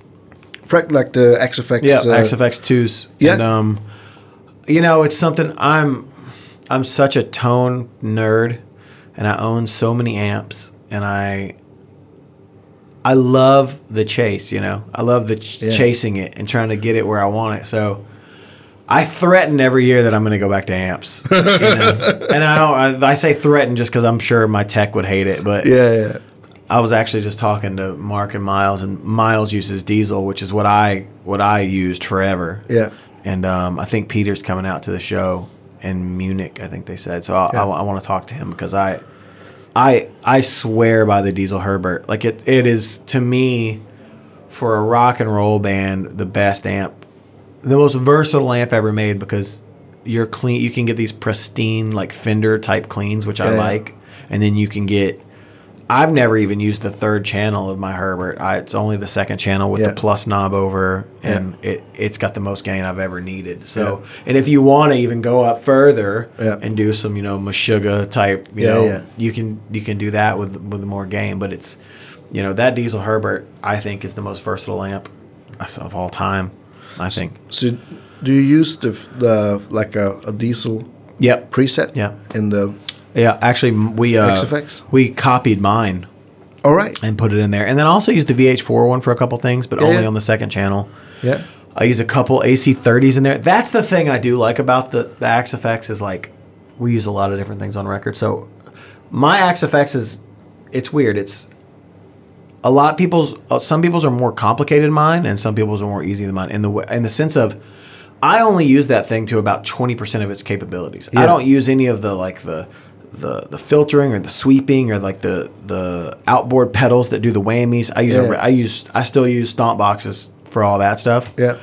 [SPEAKER 1] Frac, like the XFX.
[SPEAKER 2] Yeah,
[SPEAKER 1] uh,
[SPEAKER 2] XFX twos.
[SPEAKER 1] yeah.
[SPEAKER 2] And, um, you know, it's something I'm. I'm such a tone nerd, and I own so many amps, and I. I love the chase. You know, I love the ch-
[SPEAKER 1] Yeah.
[SPEAKER 2] chasing it and trying to get it where I want it. So. I threaten every year that I'm going to go back to amps, you know? and I don't. I, I say threaten just because I'm sure my tech would hate it, but
[SPEAKER 1] Yeah, yeah,
[SPEAKER 2] I was actually just talking to Mark and Miles, and Miles uses diesel, which is what I what I used forever.
[SPEAKER 1] yeah.
[SPEAKER 2] And um, I think Peter's coming out to the show in Munich. I think they said so. I,
[SPEAKER 1] Yeah.
[SPEAKER 2] I, want to talk to him because I, I, I swear by the Diesel Herbert. Like it, it is to me, for a rock and roll band, the best amp, the most versatile amp ever made because you're clean. You can get these pristine like Fender type cleans, which I
[SPEAKER 1] Yeah.
[SPEAKER 2] like, and then you can get. I've never even used the third channel of my Herbert. I, it's only the second channel with
[SPEAKER 1] Yeah.
[SPEAKER 2] the plus knob over, and it it's got the most gain I've ever needed. So, and if you want to even go up further
[SPEAKER 1] Yeah.
[SPEAKER 2] and do some, you know, Meshuggah type, you
[SPEAKER 1] Yeah,
[SPEAKER 2] know,
[SPEAKER 1] yeah.
[SPEAKER 2] you can you can do that with with more gain. But it's, you know, that Diesel Herbert I think is the most versatile amp of, of all time. I think.
[SPEAKER 1] So do you use the, f- the like a, a diesel
[SPEAKER 2] Yep.
[SPEAKER 1] preset?
[SPEAKER 2] Yeah.
[SPEAKER 1] In the
[SPEAKER 2] Yeah. Actually, m- we uh,
[SPEAKER 1] XFX?
[SPEAKER 2] we copied mine
[SPEAKER 1] all right.
[SPEAKER 2] and put it in there, and then I also used the VH4 oh one for a couple things, but only
[SPEAKER 1] yeah.
[SPEAKER 2] on the second channel.
[SPEAKER 1] Yeah.
[SPEAKER 2] I use a couple AC30s in there. That's the thing I do like about the, the Axe FX is like we use a lot of different things on record. So my Axe FX is it's weird. It's a lot of people's uh, some people's are more complicated than mine and some people's are more easy than mine in the way, in the sense of I only use that thing to about 20% of its capabilities. I
[SPEAKER 1] Yeah.
[SPEAKER 2] don't use any of the like the the, the filtering or the sweeping or like the the outboard pedals that do the whammies. I use a
[SPEAKER 1] Yeah.
[SPEAKER 2] re- I use I still use stomp boxes for all that stuff
[SPEAKER 1] Yeah.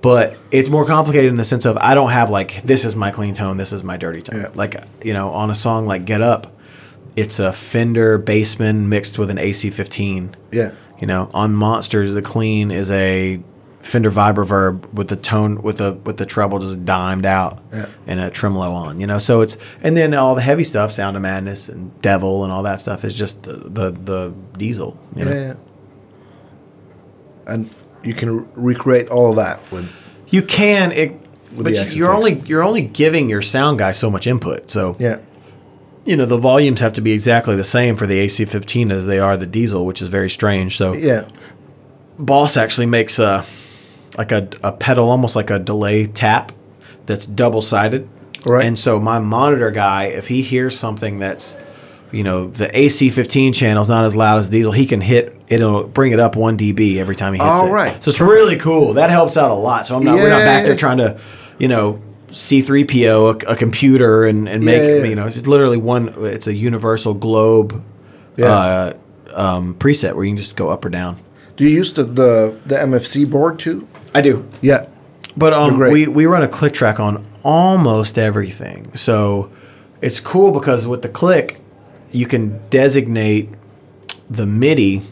[SPEAKER 2] but it's more complicated in the sense of I don't have like this is my clean tone, this is my dirty tone.
[SPEAKER 1] Yeah.
[SPEAKER 2] Like you know, on a song like Get Up, it's a Fender Bassman mixed with an AC15.
[SPEAKER 1] Yeah.
[SPEAKER 2] You know, on Monsters, the clean is a Fender Vibreverb with the tone with the with the treble just dimed out
[SPEAKER 1] Yeah.
[SPEAKER 2] and a tremolo on. You know, so it's and then all the heavy stuff, Sound of Madness and Devil and all that stuff is just the the, the diesel. You know?
[SPEAKER 1] Yeah. yeah. And you can re- recreate all that with
[SPEAKER 2] You can it,
[SPEAKER 1] the
[SPEAKER 2] but you-
[SPEAKER 1] Axe
[SPEAKER 2] you're
[SPEAKER 1] effects.
[SPEAKER 2] only you're only giving your sound guy so much input. So
[SPEAKER 1] yeah.
[SPEAKER 2] you know the volumes have to be exactly the same for the AC15 as they are the diesel, which is very strange. So
[SPEAKER 1] Yeah.
[SPEAKER 2] Boss actually makes a like a, a pedal almost like a delay tap that's double sided.
[SPEAKER 1] Right.
[SPEAKER 2] And so my monitor guy, if he hears something that's you know the AC15 channel's not as loud as diesel, he can hit it'll bring it up one dB every time he hits
[SPEAKER 1] All
[SPEAKER 2] it.
[SPEAKER 1] right.
[SPEAKER 2] So it's really cool. That helps out a lot. So I'm not we're not back there
[SPEAKER 1] Yeah.
[SPEAKER 2] trying to you know. C3PO, a, a computer, and, and make,
[SPEAKER 1] Yeah, yeah, yeah.
[SPEAKER 2] you know, it's literally one, it's a universal globe uh, um, preset where you can just go up or down.
[SPEAKER 1] Do you use the the, the MFC board too?
[SPEAKER 2] I do.
[SPEAKER 1] Yeah.
[SPEAKER 2] But um,
[SPEAKER 1] great.
[SPEAKER 2] we we run a click track on almost everything, so it's cool because with the click, you can designate the MIDI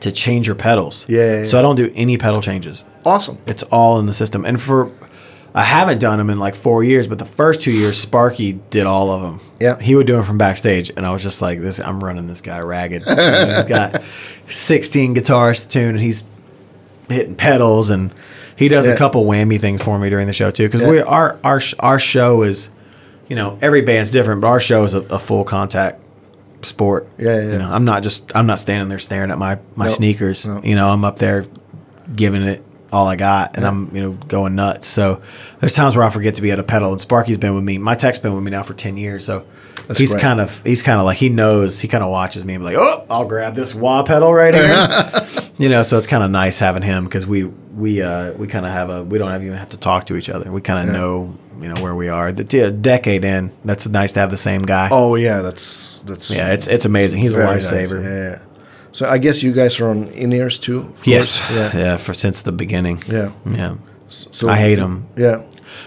[SPEAKER 2] to change your pedals.
[SPEAKER 1] Yeah, yeah,
[SPEAKER 2] So
[SPEAKER 1] yeah.
[SPEAKER 2] I don't do any pedal changes.
[SPEAKER 1] Awesome.
[SPEAKER 2] It's all in the system, and for I haven't done them in like four years, but the first two years, Sparky did all of them.
[SPEAKER 1] Yeah.
[SPEAKER 2] he would do them from backstage, and I was just like, "This, I'm running this guy ragged." He's got 16 guitars to tune, and he's hitting pedals and he does
[SPEAKER 1] Yeah.
[SPEAKER 2] a couple whammy things for me during the show too because
[SPEAKER 1] Yeah.
[SPEAKER 2] we our our sh- our show is you know every band's different but our show is a, a full contact sport
[SPEAKER 1] Yeah, yeah, yeah.
[SPEAKER 2] you know i'm not just i'm not standing there staring at my my
[SPEAKER 1] Nope.
[SPEAKER 2] sneakers
[SPEAKER 1] Nope.
[SPEAKER 2] you know i'm up there giving it all i got and i'm you know going nuts so there's times where i forget to be at a pedal and sparky's been with me my tech's been with me now for 10 years so he's
[SPEAKER 1] great.
[SPEAKER 2] kind of he's kind of like he knows he kind of watches me and be like oh i'll grab this wah pedal right here you know, so it's kind of nice having him because we we uh, we kind of have a we don't have, even have to talk to each other. We kind of know you know where we are. The d- decade in, that's nice to have the same guy.
[SPEAKER 1] Oh yeah, that's that's
[SPEAKER 2] yeah, it's it's amazing. He's a
[SPEAKER 1] very nice.
[SPEAKER 2] lifesaver.
[SPEAKER 1] Yeah, yeah. So I guess you guys are on in ears too. of
[SPEAKER 2] Yes,
[SPEAKER 1] course.
[SPEAKER 2] yeah.
[SPEAKER 1] Yeah.
[SPEAKER 2] for since the beginning.
[SPEAKER 1] Yeah.
[SPEAKER 2] yeah.
[SPEAKER 1] So
[SPEAKER 2] I hate him.
[SPEAKER 1] Yeah.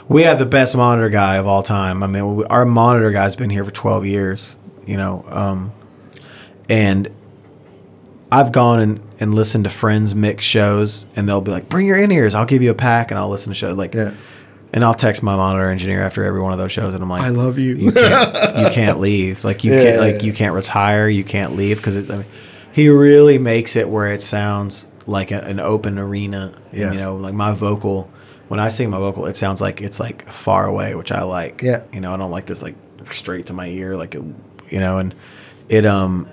[SPEAKER 2] We have the best monitor guy of all time. I mean, we, our monitor guy's been here for 12 years, you know. Um, and I've gone and, and listened to friends mix shows, and they'll be like, bring your in ears. I'll give you a pack and I'll listen to shows. Like,
[SPEAKER 1] Yeah.
[SPEAKER 2] and I'll text my monitor engineer after every one of those shows, and I'm like,
[SPEAKER 1] I love you.
[SPEAKER 2] you can't, you can't leave. Like you
[SPEAKER 1] Yeah,
[SPEAKER 2] can't
[SPEAKER 1] yeah,
[SPEAKER 2] like
[SPEAKER 1] yeah.
[SPEAKER 2] you can't retire. You can't leave because I mean, he really makes it where it sounds like a, an open arena. And,
[SPEAKER 1] Yeah.
[SPEAKER 2] you know, like my vocal when I sing my vocal, it sounds like it's like far away, which I like.
[SPEAKER 1] Yeah.
[SPEAKER 2] you know, I don't like this like straight to my ear, like it, you know, and it um.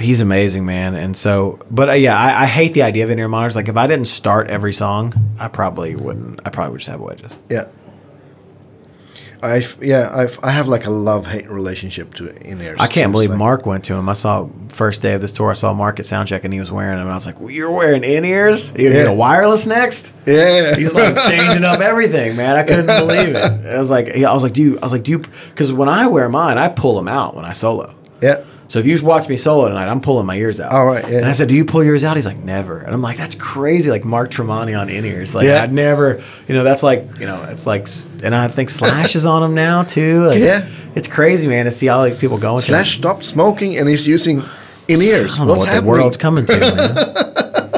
[SPEAKER 2] He's amazing, man, and so. But uh, yeah, I, I hate the idea of in-ear monitors. Like, if I didn't start every song, I probably wouldn't. I probably would just have wedges.
[SPEAKER 1] Yeah. I yeah I've, I have like a love hate relationship to in ears.
[SPEAKER 2] I can't
[SPEAKER 1] It's
[SPEAKER 2] believe
[SPEAKER 1] like-
[SPEAKER 2] Mark went to him. I saw first day of this tour. I saw Mark at soundcheck and he was wearing them, and I was like, well, "You're wearing in ears? You
[SPEAKER 1] Yeah.
[SPEAKER 2] get a wireless next?"
[SPEAKER 1] Yeah.
[SPEAKER 2] He's like changing up everything, man. I couldn't believe it. I was like, I was like, "Do you?" I was like, "Do you?" Because when I wear mine, I pull them out when I solo.
[SPEAKER 1] yeah.
[SPEAKER 2] So if you watch me solo tonight, I'm pulling my ears out.
[SPEAKER 1] All right, yeah.
[SPEAKER 2] And I said, "Do you pull yours out?" He's like, "Never." And I'm like, "That's crazy." Like Mark Tremonti on in ears. Like
[SPEAKER 1] Yeah.
[SPEAKER 2] I never, you know, that's like, you know, it's like, and I think Slash is on them now too. Like,
[SPEAKER 1] Yeah.
[SPEAKER 2] It's crazy, man, to see all these people going. to them.
[SPEAKER 1] Slash stopped smoking and he's using in ears.
[SPEAKER 2] I don't know
[SPEAKER 1] What's
[SPEAKER 2] what
[SPEAKER 1] happening?
[SPEAKER 2] the world's coming to. man.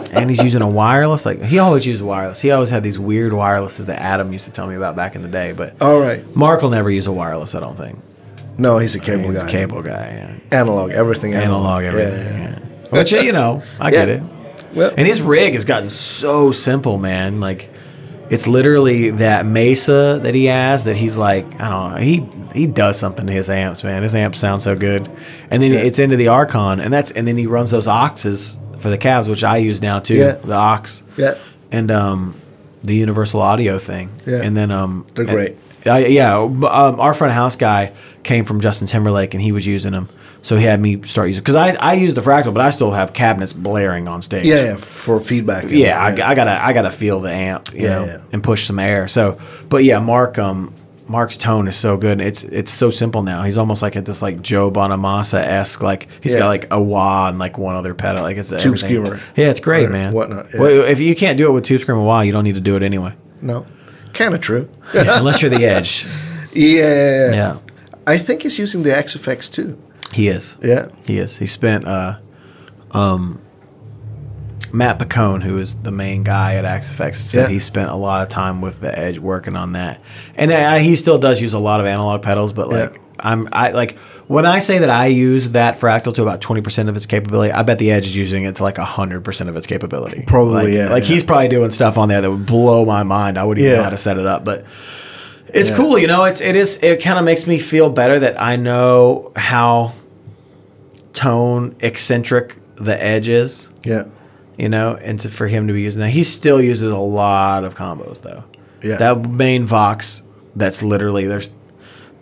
[SPEAKER 2] and he's using a wireless. Like he always used wireless. He always had these weird wirelesses that Adam used to tell me about back in the day. But
[SPEAKER 1] All right.
[SPEAKER 2] Mark will never use a wireless. I don't think.
[SPEAKER 1] No, he's a cable
[SPEAKER 2] He's
[SPEAKER 1] guy.
[SPEAKER 2] a cable guy.
[SPEAKER 1] Analog. Everything.
[SPEAKER 2] Yeah. Analog
[SPEAKER 1] Yeah,
[SPEAKER 2] everything.
[SPEAKER 1] yeah, yeah.
[SPEAKER 2] Yeah, Which you know, I get
[SPEAKER 1] Yeah.
[SPEAKER 2] it.
[SPEAKER 1] Well,
[SPEAKER 2] And his rig has gotten so simple, man. Like it's literally that Mesa that he has that he's like, I don't know, he he does something to his amps, man. His amps sound so good. And then it's into the Archon and that's and then he runs those Oxes for the cabs, which I use now too.
[SPEAKER 1] Yeah.
[SPEAKER 2] The Ox.
[SPEAKER 1] Yeah.
[SPEAKER 2] And um the universal audio thing.
[SPEAKER 1] Yeah.
[SPEAKER 2] And then um
[SPEAKER 1] They're great.
[SPEAKER 2] I, yeah, b- um, our front of house guy came from Justin Timberlake, and he was using them. So he had me start using because I I use the fractal, but I still have cabinets blaring on stage.
[SPEAKER 1] yeah, yeah, for feedback. and-
[SPEAKER 2] Yeah, I, I gotta I gotta feel the amp, you
[SPEAKER 1] Yeah,
[SPEAKER 2] know,
[SPEAKER 1] yeah.
[SPEAKER 2] and push some air. So, but yeah, Mark um Mark's tone is so good. and It's it's so simple now. He's almost like at this like Joe Bonamassa esque like he's
[SPEAKER 1] Yeah.
[SPEAKER 2] got like a wah and like one other pedal. Like it's tube
[SPEAKER 1] screamer.
[SPEAKER 2] Yeah, it's great,
[SPEAKER 1] Or
[SPEAKER 2] man.
[SPEAKER 1] whatnot, yeah.
[SPEAKER 2] Well, if you can't do it with tube screamer wah, you don't need to do it anyway,
[SPEAKER 1] No, kind of true.
[SPEAKER 2] Yeah, unless you're the edge.
[SPEAKER 1] Yeah, yeah, yeah.
[SPEAKER 2] Yeah,
[SPEAKER 1] I think he's using the XFX too.
[SPEAKER 2] he is.
[SPEAKER 1] Yeah.
[SPEAKER 2] He is. He spent uh, um, Matt Picone, who is the main guy at AxFX, said
[SPEAKER 1] Yeah.
[SPEAKER 2] he spent a lot of time with the Edge working on that, and I, he still does use a lot of analog pedals. But like
[SPEAKER 1] Yeah.
[SPEAKER 2] I'm, I like when I say that I use that fractal to about twenty percent of its capability. I bet the Edge is using it to like hundred percent of its capability.
[SPEAKER 1] Probably,
[SPEAKER 2] Like-
[SPEAKER 1] yeah,
[SPEAKER 2] Like
[SPEAKER 1] yeah.
[SPEAKER 2] he's probably doing stuff on there that would blow my mind. I wouldn't even know
[SPEAKER 1] Yeah.
[SPEAKER 2] how to set it up, but. It's
[SPEAKER 1] Yeah.
[SPEAKER 2] cool, you know. It's it is. It kind of makes me feel better that I know how tone eccentric the edge is,
[SPEAKER 1] Yeah.
[SPEAKER 2] you know, and to, for him to be using that. He still uses a lot of combos though.
[SPEAKER 1] Yeah.
[SPEAKER 2] That main Vox that's literally there's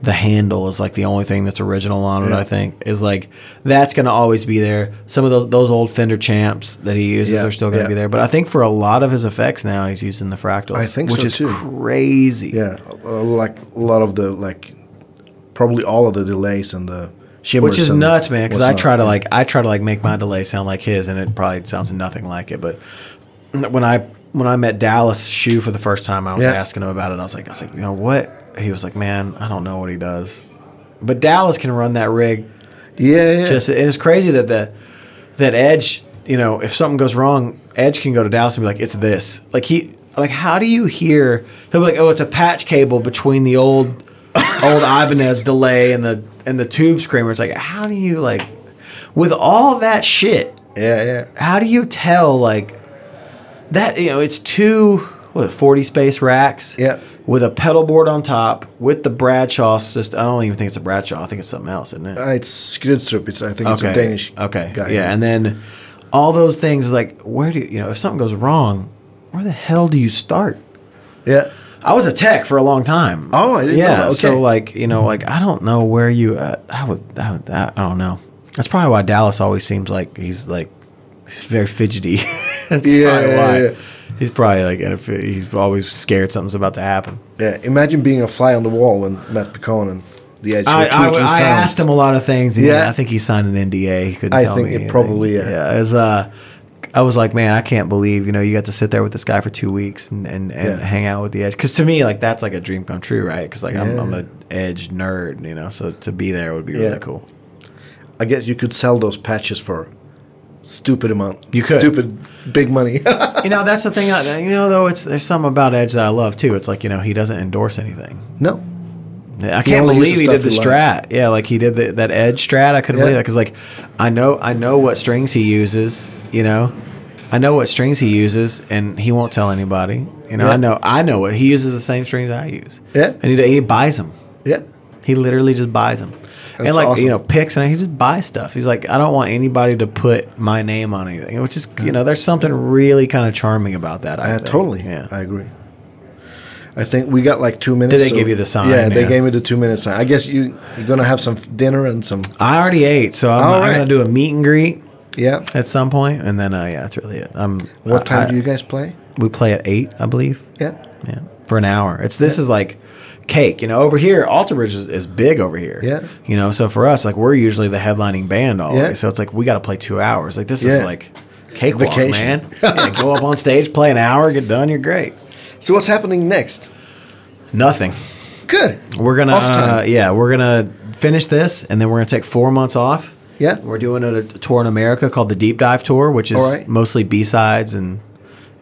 [SPEAKER 2] the handle is like the only thing that's original on it,
[SPEAKER 1] Yeah.
[SPEAKER 2] I think. Is like that's gonna always be there. Some of those those old Fender champs that he uses
[SPEAKER 1] Yeah,
[SPEAKER 2] are still gonna
[SPEAKER 1] yeah.
[SPEAKER 2] be there. But I think for a lot of his effects now he's using the fractals.
[SPEAKER 1] I think
[SPEAKER 2] which
[SPEAKER 1] so,
[SPEAKER 2] is
[SPEAKER 1] too.
[SPEAKER 2] crazy.
[SPEAKER 1] Yeah, uh, like a lot of the like, probably all of the delays and the shimmers.
[SPEAKER 2] which is
[SPEAKER 1] and
[SPEAKER 2] nuts, man. Because I
[SPEAKER 1] whatnot.
[SPEAKER 2] try to like I try to like make my delay sound like his, and it probably sounds nothing like it. But when I when I met Dallas Shoe for the first time, I was
[SPEAKER 1] Yeah.
[SPEAKER 2] asking him about it. I was like, I was like, you know what? He was like, man, I don't know what he does, but Dallas can run that rig.
[SPEAKER 1] Yeah, yeah.
[SPEAKER 2] Just and it's crazy that the that Edge, you know, if something goes wrong, Edge can go to Dallas and be like, it's this. Like he, like how do you hear? He'll be like, oh, it's a patch cable between the old old Ibanez delay and the and the tube screamer. It's like, how do you like with all that shit?
[SPEAKER 1] yeah, yeah.
[SPEAKER 2] how do you tell like that you know it's two what 40 space racks
[SPEAKER 1] Yeah.
[SPEAKER 2] with a pedal board on top with the bradshaw system i don't even think it's a bradshaw i think it's something else isn't it
[SPEAKER 1] Uh, it's Skrydstrup. It's I think it's a Danish.
[SPEAKER 2] okay
[SPEAKER 1] guy.
[SPEAKER 2] yeah and then all those things like where do you you know if something goes wrong where the hell do you start
[SPEAKER 1] yeah.
[SPEAKER 2] I was a tech for a long time.
[SPEAKER 1] Oh, I didn't know
[SPEAKER 2] yeah.
[SPEAKER 1] that. Okay.
[SPEAKER 2] So like you know like I don't know where you at. I would I would I don't know. That's probably why Dallas always seems like he's like he's very fidgety. That's
[SPEAKER 1] Yeah,
[SPEAKER 2] probably
[SPEAKER 1] yeah,
[SPEAKER 2] why.
[SPEAKER 1] yeah.
[SPEAKER 2] He's probably like in a fi- he's always scared something's about to happen.
[SPEAKER 1] Yeah, imagine being a fly on the wall when Matt Picon and the Edge
[SPEAKER 2] I,
[SPEAKER 1] were
[SPEAKER 2] I,
[SPEAKER 1] tweaking
[SPEAKER 2] I
[SPEAKER 1] sounds.
[SPEAKER 2] asked him a lot of things. And
[SPEAKER 1] Yeah.
[SPEAKER 2] I think he signed an NDA. He couldn't
[SPEAKER 1] I
[SPEAKER 2] tell
[SPEAKER 1] think
[SPEAKER 2] me
[SPEAKER 1] it
[SPEAKER 2] anything.
[SPEAKER 1] probably, yeah.
[SPEAKER 2] yeah. It was, uh, I was like, man, I can't believe you know you got to sit there with this guy for two weeks and and, and
[SPEAKER 1] Yeah.
[SPEAKER 2] hang out with the edge. Because to me, like that's like a dream come true, right? Because like I'm, I'm
[SPEAKER 1] Yeah.
[SPEAKER 2] a edge nerd, you know. So to be there would be
[SPEAKER 1] Yeah.
[SPEAKER 2] really cool.
[SPEAKER 1] I guess you could sell those patches for stupid amount.
[SPEAKER 2] You could.
[SPEAKER 1] stupid big money.
[SPEAKER 2] You know, that's the thing. I, you know, though, it's there's something about Edge that I love too. It's like you know he doesn't endorse anything.
[SPEAKER 1] no,
[SPEAKER 2] I can't
[SPEAKER 1] only
[SPEAKER 2] believe
[SPEAKER 1] uses
[SPEAKER 2] he did the
[SPEAKER 1] stuff he
[SPEAKER 2] strat. Yeah, like he did the, that edge strat. I couldn't
[SPEAKER 1] Yeah.
[SPEAKER 2] believe that because like I know I know what strings he uses. You know, I know what strings he uses, and he won't tell anybody. You know,
[SPEAKER 1] Yeah.
[SPEAKER 2] I know I know it. He uses the same strings I use.
[SPEAKER 1] Yeah.
[SPEAKER 2] and he, he buys them.
[SPEAKER 1] yeah,
[SPEAKER 2] He literally just buys them. and
[SPEAKER 1] That's
[SPEAKER 2] like
[SPEAKER 1] awesome.
[SPEAKER 2] you know, picks and he just buys stuff. He's like, I don't want anybody to put my name on anything, which is you know, there's something really kind of charming about that. I
[SPEAKER 1] uh,
[SPEAKER 2] think.
[SPEAKER 1] totally.
[SPEAKER 2] Yeah.
[SPEAKER 1] I agree. I think we got like two minutes.
[SPEAKER 2] Did they give you the sign?
[SPEAKER 1] Yeah, they
[SPEAKER 2] Yeah.
[SPEAKER 1] gave me the two minute sign. I guess you you're gonna have some dinner and some
[SPEAKER 2] I already ate, so I'm,
[SPEAKER 1] All
[SPEAKER 2] I'm
[SPEAKER 1] right.
[SPEAKER 2] gonna do a meet and greet.
[SPEAKER 1] yeah.
[SPEAKER 2] at some point, and then uh, yeah, that's really it. Um,
[SPEAKER 1] What
[SPEAKER 2] I-
[SPEAKER 1] time
[SPEAKER 2] I-
[SPEAKER 1] do you guys play?
[SPEAKER 2] we play at eight? I believe.
[SPEAKER 1] Yeah,
[SPEAKER 2] Yeah, for an hour. It's this is like cake. You know, over here, Alter Bridge is, is big over here.
[SPEAKER 1] Yeah.
[SPEAKER 2] You know, so for us, like we're usually the headlining band always.
[SPEAKER 1] Yeah.
[SPEAKER 2] So it's like we got to play two hours. Like this is
[SPEAKER 1] Yeah.
[SPEAKER 2] like cakewalk,
[SPEAKER 1] Vacation.
[SPEAKER 2] man. Yeah, go up on stage, play an hour, get done, you're great.
[SPEAKER 1] So what's happening next?
[SPEAKER 2] Nothing.
[SPEAKER 1] Good.
[SPEAKER 2] We're gonna,
[SPEAKER 1] Off time.
[SPEAKER 2] uh, yeah, we're gonna finish this, and then we're gonna take four months off.
[SPEAKER 1] Yeah.
[SPEAKER 2] we're doing a, a tour in America called the Deep Dive Tour, which is
[SPEAKER 1] All right.
[SPEAKER 2] mostly B sides and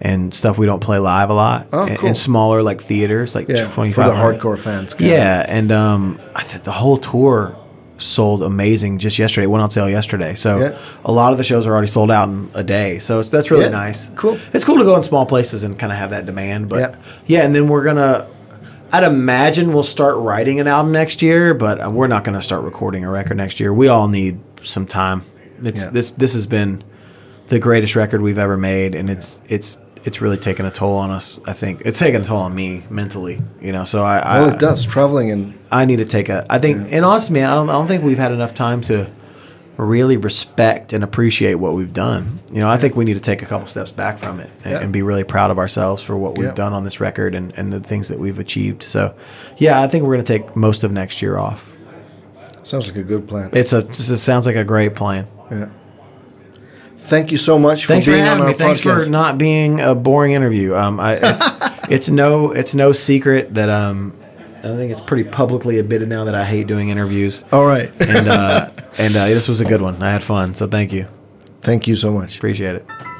[SPEAKER 2] and stuff we don't play live a lot.
[SPEAKER 1] Oh,
[SPEAKER 2] in,
[SPEAKER 1] cool.
[SPEAKER 2] in smaller like theaters, like
[SPEAKER 1] yeah,
[SPEAKER 2] twenty
[SPEAKER 1] for
[SPEAKER 2] five
[SPEAKER 1] the hardcore fans.
[SPEAKER 2] Yeah, and um, I think the whole tour sold amazing just yesterday. It went on sale yesterday, so
[SPEAKER 1] Yeah.
[SPEAKER 2] a lot of the shows are already sold out in a day. So it's, that's really
[SPEAKER 1] Yeah,
[SPEAKER 2] nice.
[SPEAKER 1] cool.
[SPEAKER 2] It's cool to go in small places and kind of have that demand, but
[SPEAKER 1] Yeah.
[SPEAKER 2] yeah, and then we're gonna. I'd imagine we'll start writing an album next year, but uh, we're not going to start recording a record next year. We all need some time. It's
[SPEAKER 1] Yeah.
[SPEAKER 2] this this has been the greatest record we've ever made, and it's it's it's really taken a toll on us. I think it's taken a toll on me mentally, you know. So I I,
[SPEAKER 1] Well, it does traveling and
[SPEAKER 2] I need to take a. I think, and honestly, man, I don't I don't think we've had enough time to really respect and appreciate what we've done. You know, I think we need to take a couple steps back from it and,
[SPEAKER 1] Yeah.
[SPEAKER 2] and be really proud of ourselves for what we've
[SPEAKER 1] Yeah.
[SPEAKER 2] done on this record and, and the things that we've achieved. So, yeah, I think we're going to take most of next year off.
[SPEAKER 1] sounds like a good plan.
[SPEAKER 2] It's a, this is- sounds like a great plan.
[SPEAKER 1] yeah. Thank you so much
[SPEAKER 2] Thanks
[SPEAKER 1] for
[SPEAKER 2] for
[SPEAKER 1] being on
[SPEAKER 2] having
[SPEAKER 1] our
[SPEAKER 2] me.
[SPEAKER 1] podcast.
[SPEAKER 2] Thanks for not being a boring interview. Um, I, it's, it's no, it's no secret that, um, I think it's pretty publicly admitted now that I hate doing interviews.
[SPEAKER 1] All right.
[SPEAKER 2] and uh, and uh, this was a good one. I had fun, so thank you.
[SPEAKER 1] Thank you so much.
[SPEAKER 2] Appreciate it.